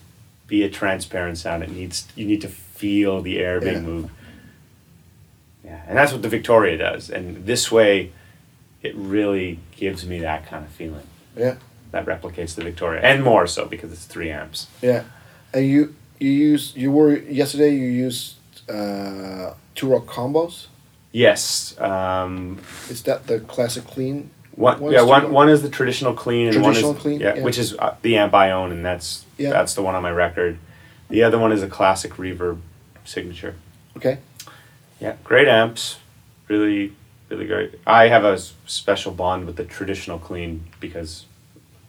Speaker 2: be a transparent sound. It needs you need to feel the air being
Speaker 1: Yeah.
Speaker 2: moved. Yeah, and that's what the Victoria does, and this way, it really gives me that kind of feeling
Speaker 1: Yeah.
Speaker 2: that replicates the Victoria, and more so because it's three amps.
Speaker 1: Yeah, and you you use you were yesterday you used uh, two rock combos.
Speaker 2: Yes, um,
Speaker 1: Is that the classic clean?
Speaker 2: One,
Speaker 1: One
Speaker 2: yeah,
Speaker 1: is
Speaker 2: one,
Speaker 1: Tudor.
Speaker 2: one is the traditional clean, and
Speaker 1: Traditional
Speaker 2: one is
Speaker 1: clean,
Speaker 2: yeah,
Speaker 1: yeah.
Speaker 2: which is uh, the amp I own, and that's
Speaker 1: Yeah.
Speaker 2: that's the one on my record. The other one is a classic reverb signature.
Speaker 1: Okay.
Speaker 2: Yeah, great amps, really, really great. I have a s- special bond with the traditional clean because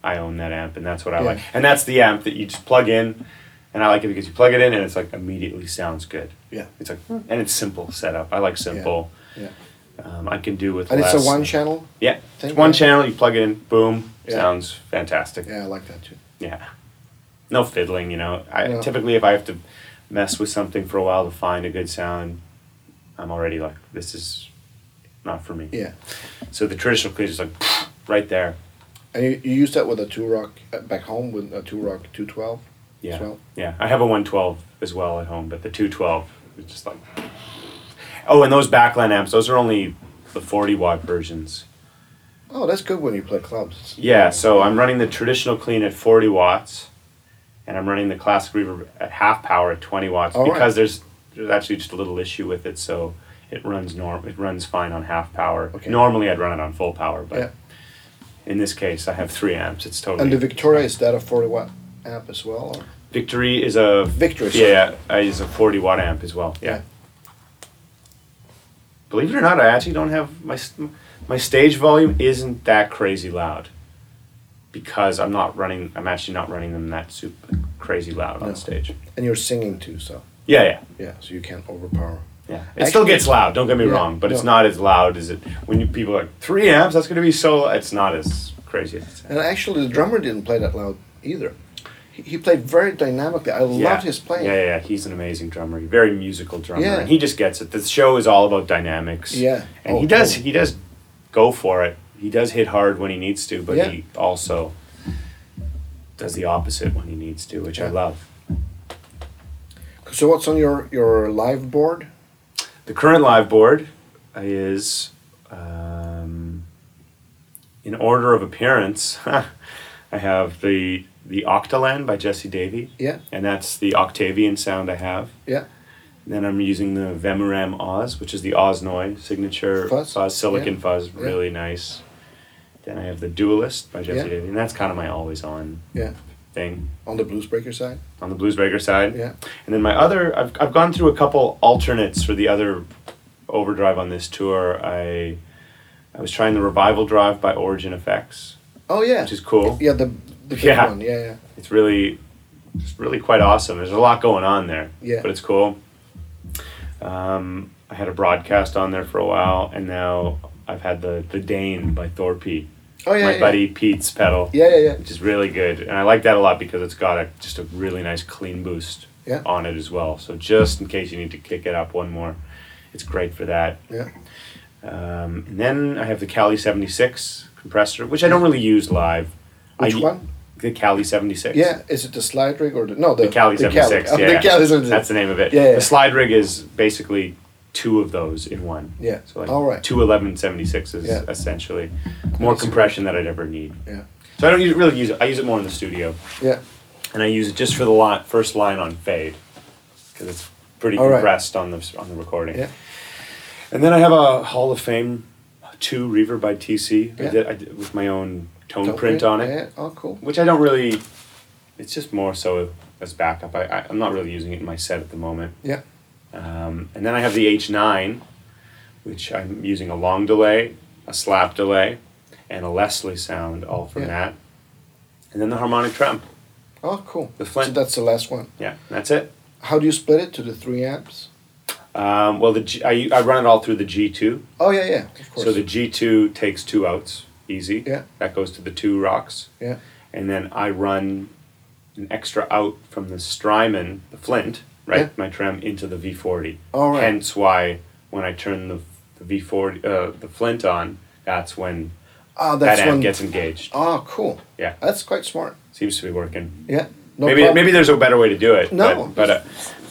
Speaker 2: I own that amp, and that's what I
Speaker 1: Yeah.
Speaker 2: like, and that's the amp that you just plug in, and I like it because you plug it in, and it's like immediately sounds good.
Speaker 1: Yeah.
Speaker 2: It's like, and it's simple setup. I like simple.
Speaker 1: Hmm. Yeah.
Speaker 2: Um, I can do with
Speaker 1: And
Speaker 2: less.
Speaker 1: it's a one channel.
Speaker 2: Yeah,
Speaker 1: Thank
Speaker 2: it's one
Speaker 1: you.
Speaker 2: channel. You plug it in, boom,
Speaker 1: Yeah.
Speaker 2: sounds fantastic. Yeah.
Speaker 1: Yeah, I like that too.
Speaker 2: no fiddling. You know, I
Speaker 1: No.
Speaker 2: typically if I have to mess with something for a while to find a good sound, I'm already like, this is not for me.
Speaker 1: Yeah,
Speaker 2: So the traditional clean is like right there.
Speaker 1: and you, you use that with a two rock uh, back home with a two rock two twelve.
Speaker 2: Yeah,
Speaker 1: As well.
Speaker 2: yeah. I have a one twelve as well at home, but the two twelve is just like. Oh, and those backline amps; those are only the forty watt versions.
Speaker 1: Oh, that's good when you play clubs.
Speaker 2: Yeah, so I'm running the traditional clean at 40 watts, and I'm running the classic reverb at half power at 20 watts
Speaker 1: All right.
Speaker 2: because there's there's actually just a little issue with it, so it runs norm it runs fine on half power.
Speaker 1: Okay.
Speaker 2: Normally I'd run it on full power, but
Speaker 1: Yeah.
Speaker 2: in this case I have three amps. It's totally
Speaker 1: And the Victoria is that a forty watt amp as well? Or?
Speaker 2: Victory is a
Speaker 1: Victory, sorry.
Speaker 2: Yeah, uh, is a 40 watt amp as well.
Speaker 1: Yeah.
Speaker 2: Believe it or not, I actually don't have my s- my stage volume isn't that crazy loud because I'm not running. I'm actually not running them that super crazy loud
Speaker 1: No.
Speaker 2: on stage.
Speaker 1: And you're singing too, so
Speaker 2: Yeah, yeah,
Speaker 1: yeah, so you can't overpower.
Speaker 2: yeah. It still
Speaker 1: Actually-
Speaker 2: gets loud. Don't get me
Speaker 1: Yeah,
Speaker 2: wrong, but it's
Speaker 1: no.
Speaker 2: not as loud as it when you, people are like three amps. That's gonna be so. It's not as crazy. As it sounds.
Speaker 1: And actually, the drummer didn't play that loud either. He, he played very dynamically. I
Speaker 2: yeah.
Speaker 1: loved his playing.
Speaker 2: Yeah, yeah, yeah. He's an amazing drummer. Very musical drummer.
Speaker 1: Yeah.
Speaker 2: And he just gets it. The show is all about dynamics.
Speaker 1: Yeah.
Speaker 2: And
Speaker 1: Oh,
Speaker 2: he does
Speaker 1: totally.
Speaker 2: he does go for it. He does hit hard when he needs to, but
Speaker 1: Yeah.
Speaker 2: he also does the opposite when he needs to, which I
Speaker 1: Yeah.
Speaker 2: love.
Speaker 1: So what's on your your live board?
Speaker 2: The current live board is um, in order of appearance. I have the the Octaland by Jesse Davy.
Speaker 1: Yeah.
Speaker 2: And that's the Octavian sound I have.
Speaker 1: Yeah.
Speaker 2: Then I'm using the Vemuram Oz, which is the Osnoy signature
Speaker 1: Fuzz?
Speaker 2: fuzz, silicon
Speaker 1: Yeah.
Speaker 2: fuzz,
Speaker 1: Yeah.
Speaker 2: really nice. Then I have the Dualist by Jesse
Speaker 1: Yeah.
Speaker 2: Davy, and that's kind of my always on
Speaker 1: Yeah.
Speaker 2: thing
Speaker 1: On the bluesbreaker side.
Speaker 2: on the Bluesbreaker side.
Speaker 1: Yeah.
Speaker 2: And then my other, I've, I've gone through a couple alternates for the other overdrive on this tour. I I was trying the Revival Drive by Origin Effects,
Speaker 1: Oh yeah.
Speaker 2: which is cool.
Speaker 1: Yeah, the the big
Speaker 2: Yeah.
Speaker 1: one. Yeah, yeah.
Speaker 2: It's really, it's really quite awesome. There's a lot going on there.
Speaker 1: Yeah.
Speaker 2: But it's cool. Um, I had a broadcast on there for a while, and now I've had the the Dane by Thorpe,
Speaker 1: Oh yeah.
Speaker 2: my
Speaker 1: yeah.
Speaker 2: buddy Pete's pedal.
Speaker 1: Yeah, yeah, yeah.
Speaker 2: Which is really good, and I like that a lot because it's got a just a really nice clean boost
Speaker 1: Yeah.
Speaker 2: on it as well. So just in case you need to kick it up one more, it's great for that.
Speaker 1: Yeah.
Speaker 2: Um, and then I have the Cali seventy six compressor, which I don't really use live.
Speaker 1: Which
Speaker 2: I,
Speaker 1: one?
Speaker 2: The Cali seventy six.
Speaker 1: Yeah. Is it the slide rig or the no the,
Speaker 2: The Cali 76.
Speaker 1: Oh,
Speaker 2: yeah.
Speaker 1: The Cali 76.
Speaker 2: That's the name of it.
Speaker 1: Yeah, yeah.
Speaker 2: The slide rig is basically two of those in one.
Speaker 1: Yeah.
Speaker 2: So like
Speaker 1: All right.
Speaker 2: two 1176s
Speaker 1: Yeah.
Speaker 2: essentially. More
Speaker 1: Nice. compression
Speaker 2: compression that I'd ever need.
Speaker 1: yeah.
Speaker 2: So I don't use, really use it. I use it more in the studio.
Speaker 1: Yeah.
Speaker 2: And I use it just for the line, first line on fade because it's pretty
Speaker 1: All right.
Speaker 2: compressed on the on the recording.
Speaker 1: Yeah.
Speaker 2: And then I have a Hall of Fame 2 reverb by TC.
Speaker 1: Yeah.
Speaker 2: I, did, I did with my own tone
Speaker 1: Don't
Speaker 2: print
Speaker 1: we-
Speaker 2: on it
Speaker 1: Yeah. Oh, cool.
Speaker 2: which I don't really. It's just more so as backup. I, I I'm not really using it in my set at the moment.
Speaker 1: Yeah.
Speaker 2: Um, and then I have the H nine, which I'm using a long delay, a slap delay, and a Leslie sound all from
Speaker 1: Yeah.
Speaker 2: that, and then the harmonic tremp.
Speaker 1: Oh, cool.
Speaker 2: The Flint.
Speaker 1: So that's the last one.
Speaker 2: Yeah, that's it.
Speaker 1: How do you split it to the three amps?
Speaker 2: Um, well, the G, I, I run it all through the G2.
Speaker 1: Oh yeah, yeah, of course.
Speaker 2: So the G2 takes two outs, easy.
Speaker 1: Yeah.
Speaker 2: That goes to the two rocks.
Speaker 1: yeah,
Speaker 2: And then I run an extra out from the Strymon, the Flint, right?
Speaker 1: Yeah.
Speaker 2: My trem into the V40.
Speaker 1: All right.
Speaker 2: Hence why when I turn the, the V40, uh, the Flint on, that's when
Speaker 1: ah, that's
Speaker 2: that amp
Speaker 1: one.
Speaker 2: gets engaged.
Speaker 1: Ah, cool.
Speaker 2: Yeah.
Speaker 1: That's quite smart.
Speaker 2: Seems to be working.
Speaker 1: Yeah. No
Speaker 2: maybe
Speaker 1: prob-
Speaker 2: maybe there's a better way to do it.
Speaker 1: No.
Speaker 2: But, but, uh,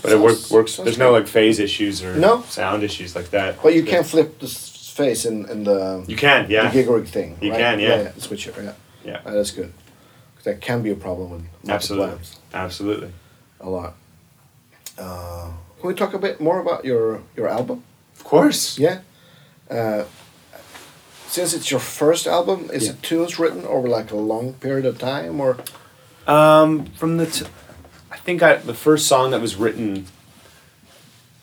Speaker 2: but it work,
Speaker 1: Sounds-
Speaker 2: works.
Speaker 1: sounds
Speaker 2: There's no
Speaker 1: good.
Speaker 2: like phase issues or
Speaker 1: No.
Speaker 2: sound issues like that.
Speaker 1: But you can flip the s- face in, in the,
Speaker 2: You can, yeah.
Speaker 1: the gig rig thing.
Speaker 2: You
Speaker 1: right?
Speaker 2: can, yeah.
Speaker 1: yeah. Switch it, yeah.
Speaker 2: Yeah.
Speaker 1: Ah, that's good. 'Cause that can be a problem with multiple
Speaker 2: Absolutely.
Speaker 1: amps
Speaker 2: Absolutely.
Speaker 1: a lot. Uh, can we talk a bit more about your your album?
Speaker 2: Of course.
Speaker 1: Yeah. Uh, since it's your first album, is
Speaker 2: Yeah.
Speaker 1: it tunes written over like a long period of time or?
Speaker 2: Um, from the, t- I think I the first song that was written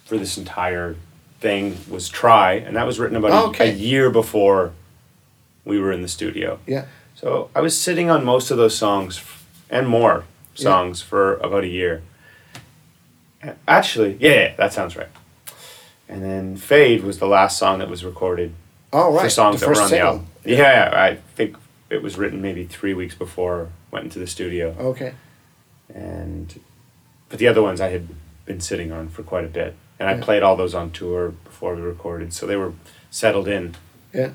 Speaker 2: for this entire thing was "Try," and that was written about a-
Speaker 1: Oh, Okay.
Speaker 2: a year before we were in the studio.
Speaker 1: Yeah.
Speaker 2: So I was sitting on most of those songs f- and more
Speaker 1: Yeah.
Speaker 2: songs for about a year. A- Actually, yeah, yeah, that sounds right. And then Fade was the last song that was recorded
Speaker 1: All Oh, right.
Speaker 2: for songs
Speaker 1: the
Speaker 2: that were
Speaker 1: first
Speaker 2: on the
Speaker 1: single.
Speaker 2: album. Yeah. yeah, I think it was written maybe three weeks before I went into the studio.
Speaker 1: Okay.
Speaker 2: And but the other ones I had been sitting on for quite a bit. And I
Speaker 1: Yeah.
Speaker 2: played all those on tour before we recorded, so they were settled in
Speaker 1: Yeah.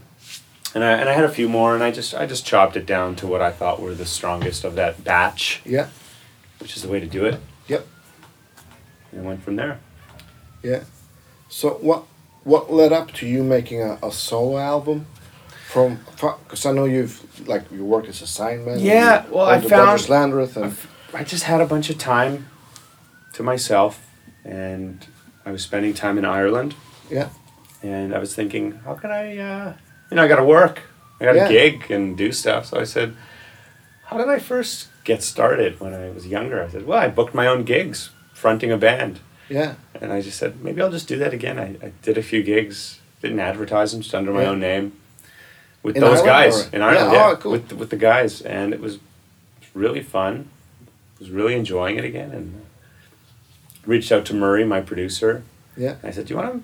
Speaker 2: and I, and I had a few more, and I just I just chopped it down to what I thought were the strongest of that batch,
Speaker 1: Yeah.
Speaker 2: which is the way to do it,
Speaker 1: Yep.
Speaker 2: and went from there.
Speaker 1: Yeah. So what what led up to you making a, a solo album? From because I know you've like you work as a signman.
Speaker 2: Yeah,
Speaker 1: and
Speaker 2: well, I
Speaker 1: all the
Speaker 2: found-
Speaker 1: Dodgers Landreth and
Speaker 2: I just had a bunch of time to myself, and I was spending time in Ireland,
Speaker 1: yeah,
Speaker 2: and I was thinking, how can I, uh, you know, I got to work, I got to
Speaker 1: Yeah.
Speaker 2: gig and do stuff. So I said, how did I first get started when I was younger? I said, well, I booked my own gigs, fronting a band.
Speaker 1: yeah,
Speaker 2: And I just said, maybe I'll just do that again. I, I did a few gigs, didn't advertise them, just under my
Speaker 1: Yeah.
Speaker 2: own name with
Speaker 1: In
Speaker 2: those
Speaker 1: Ireland
Speaker 2: guys
Speaker 1: or-
Speaker 2: in Ireland.
Speaker 1: Yeah,
Speaker 2: Yeah,
Speaker 1: oh, cool.
Speaker 2: with, the- with the guys. And it was really fun. I was really enjoying it again. And reached out to Murray, my producer.
Speaker 1: yeah,
Speaker 2: And I said, do you want to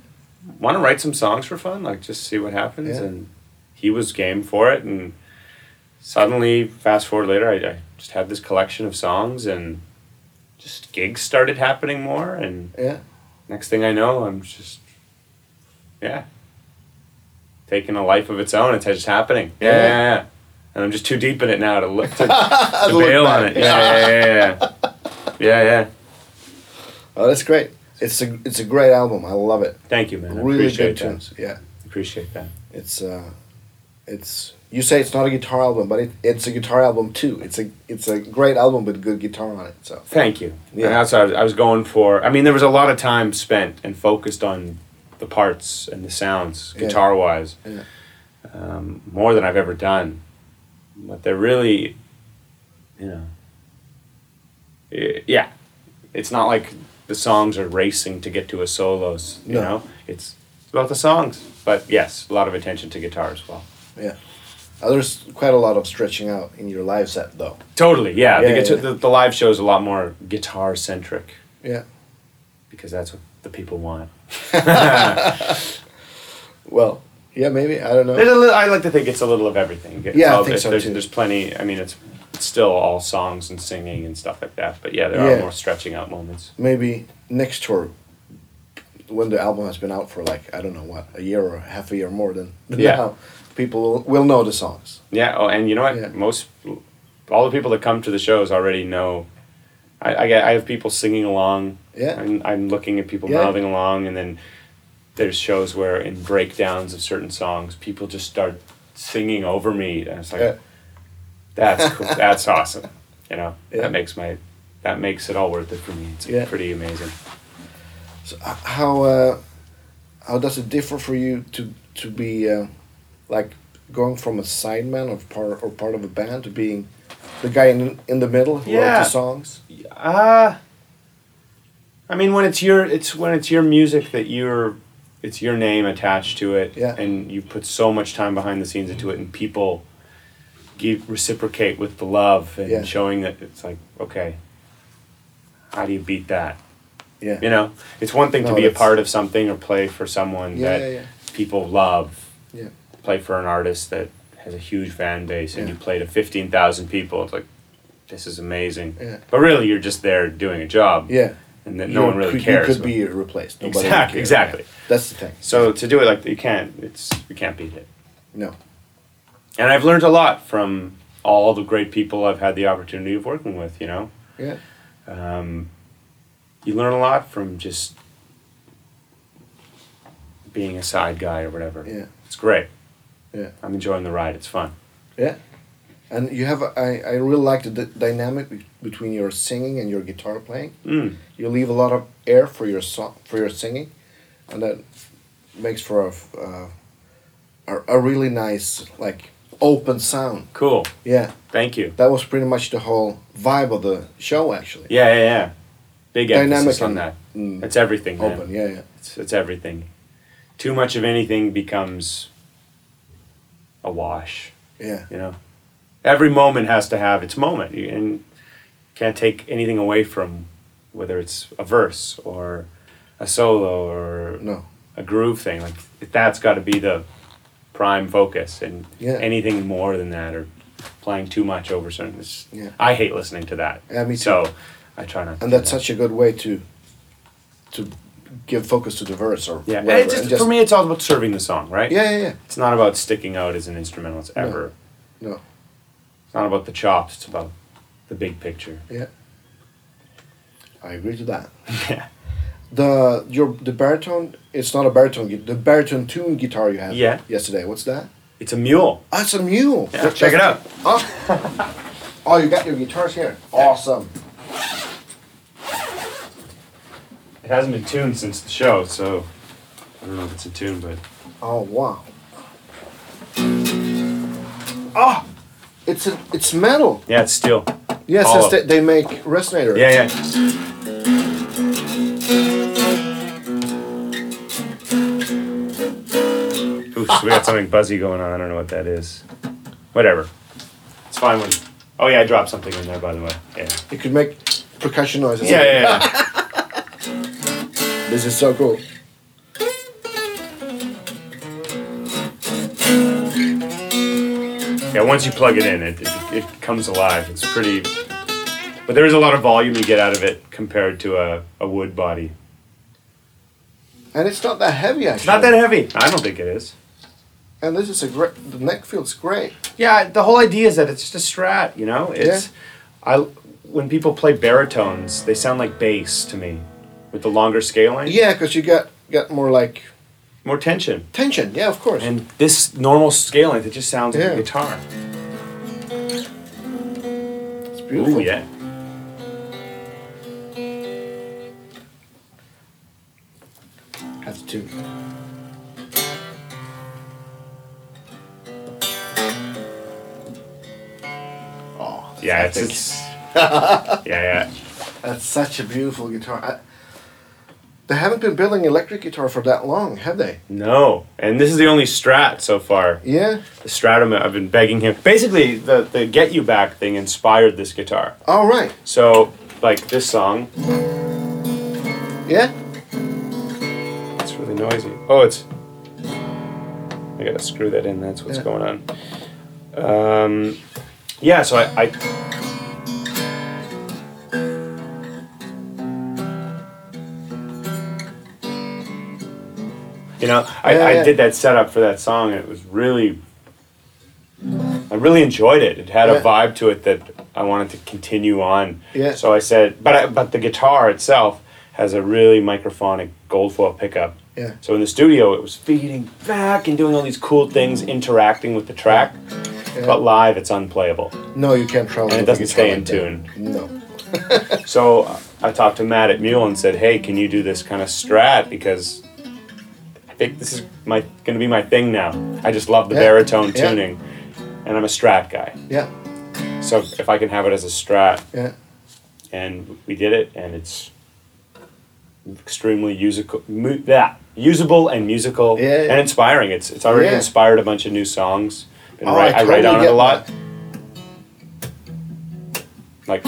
Speaker 2: want to write some songs for fun? Like, just see what happens.
Speaker 1: Yeah.
Speaker 2: And he was game for it. And suddenly, fast forward later, I, I just had this collection of songs and just gigs started happening more. And
Speaker 1: yeah.
Speaker 2: next thing I know, I'm just, yeah, taking a life of its own. It's just happening. Yeah, yeah, yeah. And I'm just too deep in it now to look to, to
Speaker 1: look
Speaker 2: bail on
Speaker 1: back.
Speaker 2: it. Yeah, yeah, yeah, yeah, yeah. yeah, yeah.
Speaker 1: Oh, that's great. It's a it's a great album. I love it.
Speaker 2: Thank you, man. I
Speaker 1: Really
Speaker 2: appreciate
Speaker 1: good
Speaker 2: that.
Speaker 1: tunes. Yeah,
Speaker 2: Appreciate that.
Speaker 1: it's uh, it's you say it's not a guitar album, but it, it's a guitar album too. It's a it's a great album with good guitar on it. So
Speaker 2: Thank you.
Speaker 1: Yeah.
Speaker 2: Yeah. And that's what I was, I was going for. I mean, there was a lot of time spent and focused on the parts and the sounds,
Speaker 1: Yeah.
Speaker 2: guitar wise,
Speaker 1: Yeah.
Speaker 2: um, more than I've ever done. But they're really, you know, i- yeah. It's not like the songs are racing to get to a solos. You
Speaker 1: No.
Speaker 2: know, it's it's about the songs. But yes, a lot of attention to guitar as well.
Speaker 1: yeah, Uh, there's quite a lot of stretching out in your live set though.
Speaker 2: Totally, yeah.
Speaker 1: Yeah,
Speaker 2: the, guitar,
Speaker 1: yeah.
Speaker 2: The, the live show is a lot more guitar centric.
Speaker 1: Yeah.
Speaker 2: because that's what the people want.
Speaker 1: Well, yeah, maybe I don't know.
Speaker 2: There's a li- I like to think it's a little of everything. It's
Speaker 1: Oh. Yeah, I
Speaker 2: all-
Speaker 1: think so
Speaker 2: there's,
Speaker 1: too.
Speaker 2: There's plenty. I mean, it's, it's still all songs and singing and stuff like that. But yeah, there
Speaker 1: Yeah.
Speaker 2: are more stretching out moments.
Speaker 1: maybe next tour when the album has been out for like I don't know what a year or half a year more than, than
Speaker 2: Yeah.
Speaker 1: now, people will, will know the songs.
Speaker 2: Yeah. Oh, and you know what?
Speaker 1: Yeah.
Speaker 2: Most all the people that come to the shows already know. I, I get. I have people singing along.
Speaker 1: Yeah.
Speaker 2: I'm, I'm looking at people
Speaker 1: Yeah.
Speaker 2: mouthing along, and then there's shows where in breakdowns of certain songs, people just start singing over me, and it's like.
Speaker 1: Yeah.
Speaker 2: that's cool. that's awesome. You know,
Speaker 1: Yeah.
Speaker 2: that makes my that makes it all worth it for me. It's
Speaker 1: Yeah.
Speaker 2: pretty amazing.
Speaker 1: So h- how uh, how does it differ for you to to be uh, like going from a sideman of part or part of a band to being the guy in in the middle who wrote
Speaker 2: Yeah.
Speaker 1: the songs?
Speaker 2: Uh I mean when it's your it's when it's your music that you're it's your name attached to it
Speaker 1: Yeah.
Speaker 2: and you put so much time behind the scenes into it and people give, reciprocate with the love and
Speaker 1: Yeah.
Speaker 2: showing that it's like okay, how do you beat that?
Speaker 1: yeah,
Speaker 2: You know, it's one thing
Speaker 1: No,
Speaker 2: to be a
Speaker 1: that's-
Speaker 2: part of something or play for someone
Speaker 1: Yeah,
Speaker 2: that
Speaker 1: yeah, yeah.
Speaker 2: people love.
Speaker 1: yeah,
Speaker 2: Play for an artist that has a huge fan base, and
Speaker 1: Yeah.
Speaker 2: you play to fifteen thousand people. It's like this is amazing.
Speaker 1: Yeah.
Speaker 2: But really, you're just there doing a job,
Speaker 1: yeah.
Speaker 2: and that
Speaker 1: You
Speaker 2: no one really
Speaker 1: could,
Speaker 2: cares.
Speaker 1: You could
Speaker 2: but-
Speaker 1: be replaced. Nobody would
Speaker 2: Exact-
Speaker 1: care.
Speaker 2: exactly.
Speaker 1: That's the thing.
Speaker 2: So to do it like that, you can't. It's you can't beat it.
Speaker 1: No.
Speaker 2: And I've learned a lot from all the great people I've had the opportunity of working with. You know,
Speaker 1: Yeah.
Speaker 2: um, you learn a lot from just being a side guy or whatever.
Speaker 1: Yeah.
Speaker 2: it's great.
Speaker 1: Yeah.
Speaker 2: I'm enjoying the ride. It's fun.
Speaker 1: Yeah. And you have, a- I, I really like the d- dynamic be- between your singing and your guitar playing.
Speaker 2: Mm.
Speaker 1: You leave a lot of air for your song, for your singing, and that makes for a, f- uh, a, a really nice, like, open sound.
Speaker 2: Cool.
Speaker 1: Yeah.
Speaker 2: Thank you.
Speaker 1: That was pretty much the whole vibe of the show, actually.
Speaker 2: Yeah, yeah, yeah. Big emphasis
Speaker 1: Dynamic
Speaker 2: on
Speaker 1: and-
Speaker 2: that.
Speaker 1: mm.
Speaker 2: That's everything. man.
Speaker 1: Open, yeah, yeah.
Speaker 2: It's, it's everything. Too much of anything becomes a wash.
Speaker 1: Yeah.
Speaker 2: you know every moment has to have its moment You- and can't take anything away from whether it's a verse or a solo or
Speaker 1: No.
Speaker 2: a groove thing like that's got to be the prime focus and
Speaker 1: Yeah.
Speaker 2: anything more than that or playing too much over certain it's,
Speaker 1: Yeah.
Speaker 2: i hate listening to that
Speaker 1: Yeah, me too.
Speaker 2: so i try not to
Speaker 1: and
Speaker 2: do
Speaker 1: that's
Speaker 2: that.
Speaker 1: such a good way to to give focus to the verse or
Speaker 2: yeah and
Speaker 1: whatever,
Speaker 2: it's
Speaker 1: and
Speaker 2: just,
Speaker 1: just-
Speaker 2: for me it's all about serving the song right
Speaker 1: yeah yeah yeah
Speaker 2: it's not about sticking out as an instrumentalist
Speaker 1: No.
Speaker 2: ever
Speaker 1: no
Speaker 2: it's not about the chops it's about the big picture
Speaker 1: yeah I agree to that
Speaker 2: yeah
Speaker 1: the your the baritone it's not a baritone gui- the baritone tune guitar you had
Speaker 2: Yeah.
Speaker 1: yesterday what's that
Speaker 2: it's a mule
Speaker 1: oh it's a mule
Speaker 2: Yeah, check it out.
Speaker 1: oh. oh you got your guitars here awesome
Speaker 2: It hasn't been tuned since the show, so I don't know if it's in tune, but
Speaker 1: oh wow oh it's a, it's metal
Speaker 2: yeah, it's steel.
Speaker 1: yes
Speaker 2: All
Speaker 1: since
Speaker 2: of
Speaker 1: they,
Speaker 2: it.
Speaker 1: they make resonator
Speaker 2: Oh. Yeah, yeah. Ooh, so we got something buzzy going on. I don't know what that is. Whatever. It's fine when. Oh yeah, I dropped something in there by the way. Yeah.
Speaker 1: you could make percussion noises
Speaker 2: Yeah, yeah, yeah.
Speaker 1: This is so cool.
Speaker 2: yeah once you plug it in, it, it it comes alive. It's pretty. But there is a lot of volume you get out of it compared to a, a wood body.
Speaker 1: And it's not that heavy actually.
Speaker 2: It's not that heavy. I don't think it is.
Speaker 1: And this is a great. The neck feels great.
Speaker 2: Yeah, the whole idea is that it's just a strat, you know? It's I when people play baritones, they sound like bass to me with the longer scaling.
Speaker 1: Yeah, because you got got more like
Speaker 2: More tension.
Speaker 1: tension. Yeah, of course.
Speaker 2: And this normal scale length, it just sounds like
Speaker 1: Yeah.
Speaker 2: a guitar.
Speaker 1: it's beautiful.
Speaker 2: Ooh, yeah.
Speaker 1: That's two. Oh, that's
Speaker 2: Yeah, it's,
Speaker 1: epic.
Speaker 2: it's Yeah, yeah.
Speaker 1: that's such a beautiful guitar. I, they haven't been building electric guitar for that long, have they?
Speaker 2: No. And this is the only strat so far.
Speaker 1: Yeah.
Speaker 2: The stratum I've been begging him. Basically the, the get you back thing inspired this guitar.
Speaker 1: All right.
Speaker 2: So like this song,
Speaker 1: Yeah.
Speaker 2: it's really noisy. Oh it's I gotta screw that in. That's what's
Speaker 1: Yeah.
Speaker 2: going on. Um, yeah, so I, I. You know, I,
Speaker 1: Yeah,
Speaker 2: I
Speaker 1: yeah.
Speaker 2: did that setup for that song, and it was really. I really enjoyed it. It had
Speaker 1: Yeah.
Speaker 2: a vibe to it that I wanted to continue on.
Speaker 1: Yeah.
Speaker 2: So I said, but I, but the guitar itself has a really microphonic gold foil pickup.
Speaker 1: Yeah.
Speaker 2: So in the studio, it was feeding back and doing all these cool things, interacting with the track.
Speaker 1: Yeah.
Speaker 2: But live, it's unplayable.
Speaker 1: No, you can't travel.
Speaker 2: And it
Speaker 1: with a
Speaker 2: doesn't
Speaker 1: guitar
Speaker 2: stay in
Speaker 1: like that. No.
Speaker 2: So I talked to Matt at Mule and said, "Hey, can you do this kind of strat? Because I think this is my going to be my thing now. I just love the
Speaker 1: Yeah.
Speaker 2: baritone
Speaker 1: Yeah.
Speaker 2: tuning, and I'm a strat guy.
Speaker 1: Yeah.
Speaker 2: So if I can have it as a strat,
Speaker 1: Yeah.
Speaker 2: and we did it, and it's extremely musical, mu- that usable and musical
Speaker 1: Yeah, yeah.
Speaker 2: and inspiring. It's it's already
Speaker 1: Yeah.
Speaker 2: inspired a bunch of new songs. And
Speaker 1: Oh,
Speaker 2: write, I,
Speaker 1: I
Speaker 2: write
Speaker 1: totally
Speaker 2: on it
Speaker 1: get
Speaker 2: a lot. Like,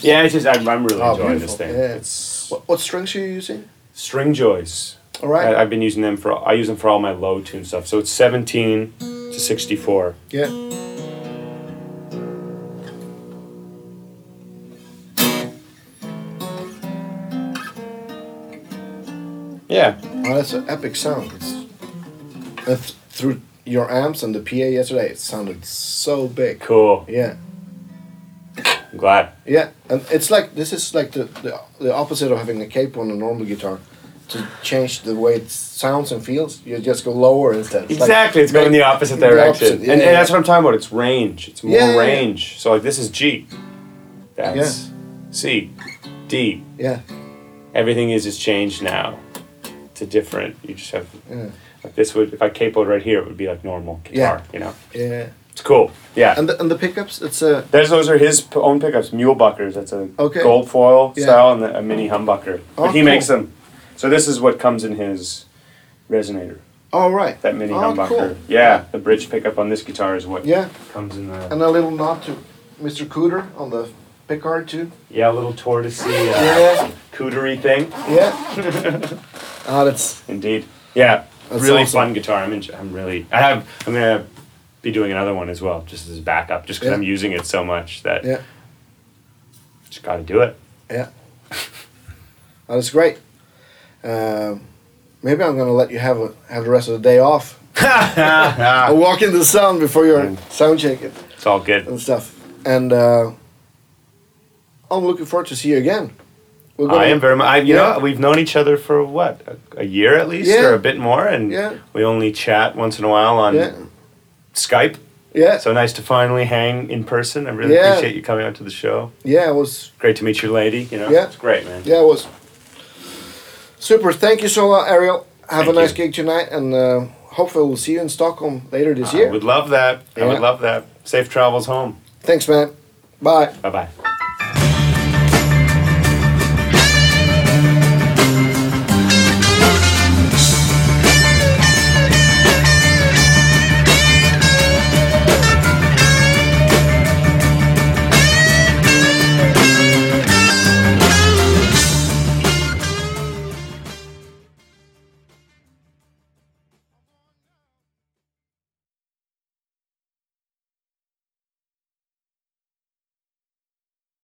Speaker 2: yeah, it's just I'm, I'm really
Speaker 1: Oh,
Speaker 2: enjoying
Speaker 1: beautiful.
Speaker 2: this thing.
Speaker 1: Yeah.
Speaker 2: It's
Speaker 1: What, what strings are you using?
Speaker 2: string joys.
Speaker 1: All right.
Speaker 2: I, I've been using them for I use them for all my low tune stuff. So it's 17 to 64.
Speaker 1: Yeah. Oh,
Speaker 2: Yeah.
Speaker 1: Oh, that's an epic sound. It's, uh, th- through your amps and the PA yesterday, it sounded so big.
Speaker 2: Cool.
Speaker 1: Yeah.
Speaker 2: I'm glad.
Speaker 1: Yeah, and it's like this is like the, the the opposite of having a cape on a normal guitar. To change the way it sounds and feels, you just go lower instead. It's like-
Speaker 2: Exactly, it's going the opposite
Speaker 1: the
Speaker 2: direction,
Speaker 1: opposite, yeah,
Speaker 2: and,
Speaker 1: yeah.
Speaker 2: and that's what I'm talking about. It's range. It's more
Speaker 1: Yeah, yeah, yeah.
Speaker 2: range. So like this is G, that's C, D.
Speaker 1: yeah,
Speaker 2: Everything is just changed now to different. You just have
Speaker 1: yeah,
Speaker 2: like this would if I capoed right here, it would be like normal guitar. You know,
Speaker 1: yeah.
Speaker 2: it's cool. Yeah,
Speaker 1: And the, and the pickups, it's uh, a
Speaker 2: There's those are his p- own pickups, mule buckers. That's a
Speaker 1: Okay.
Speaker 2: gold foil
Speaker 1: Yeah.
Speaker 2: style and a mini humbucker.
Speaker 1: Oh,
Speaker 2: but he
Speaker 1: cool.
Speaker 2: makes them. So this is what comes in his resonator.
Speaker 1: all right.
Speaker 2: That mini
Speaker 1: oh,
Speaker 2: humbucker.
Speaker 1: cool.
Speaker 2: Yeah, the bridge pickup on this guitar is what
Speaker 1: Yeah,
Speaker 2: comes in the
Speaker 1: and a little nod to Mr. Cooter on the pickguard too.
Speaker 2: yeah little tortoisey uh,
Speaker 1: Yeah,
Speaker 2: cootery thing.
Speaker 1: yeah. Ah, that's
Speaker 2: Indeed. Yeah,
Speaker 1: That's
Speaker 2: really
Speaker 1: awesome.
Speaker 2: fun guitar. I'm in, I'm really I have I'm gonna be doing another one as well, just as backup, just because
Speaker 1: Yeah.
Speaker 2: I'm using it so much that
Speaker 1: yeah,
Speaker 2: just got to do it.
Speaker 1: yeah. That is great. Um, maybe I'm gonna let you have a, have the rest of the day off. I walk in the sound before
Speaker 2: Mm.
Speaker 1: your sound check it
Speaker 2: It's all good.
Speaker 1: and stuff. And uh, I'm looking forward to see you again. We're
Speaker 2: I am very much. I, you
Speaker 1: Yeah.
Speaker 2: know, we've known each other for what a, a year at least,
Speaker 1: Yeah.
Speaker 2: or a bit more, and
Speaker 1: Yeah.
Speaker 2: we only chat once in a while on
Speaker 1: Yeah,
Speaker 2: Skype.
Speaker 1: yeah,
Speaker 2: So nice to finally hang in person. I really
Speaker 1: Yeah.
Speaker 2: appreciate you coming out to the show.
Speaker 1: yeah. It was
Speaker 2: Great to meet your lady. You know,
Speaker 1: Yeah.
Speaker 2: it's great, man.
Speaker 1: yeah, it was super. Thank you so much, Ariel. Have
Speaker 2: Thank
Speaker 1: a nice
Speaker 2: you.
Speaker 1: gig tonight, and uh, hopefully we'll see you in Stockholm later this
Speaker 2: I
Speaker 1: year.
Speaker 2: would love that. I
Speaker 1: Yeah.
Speaker 2: would love that. Safe travels home.
Speaker 1: Thanks, man. Bye.
Speaker 2: Bye bye.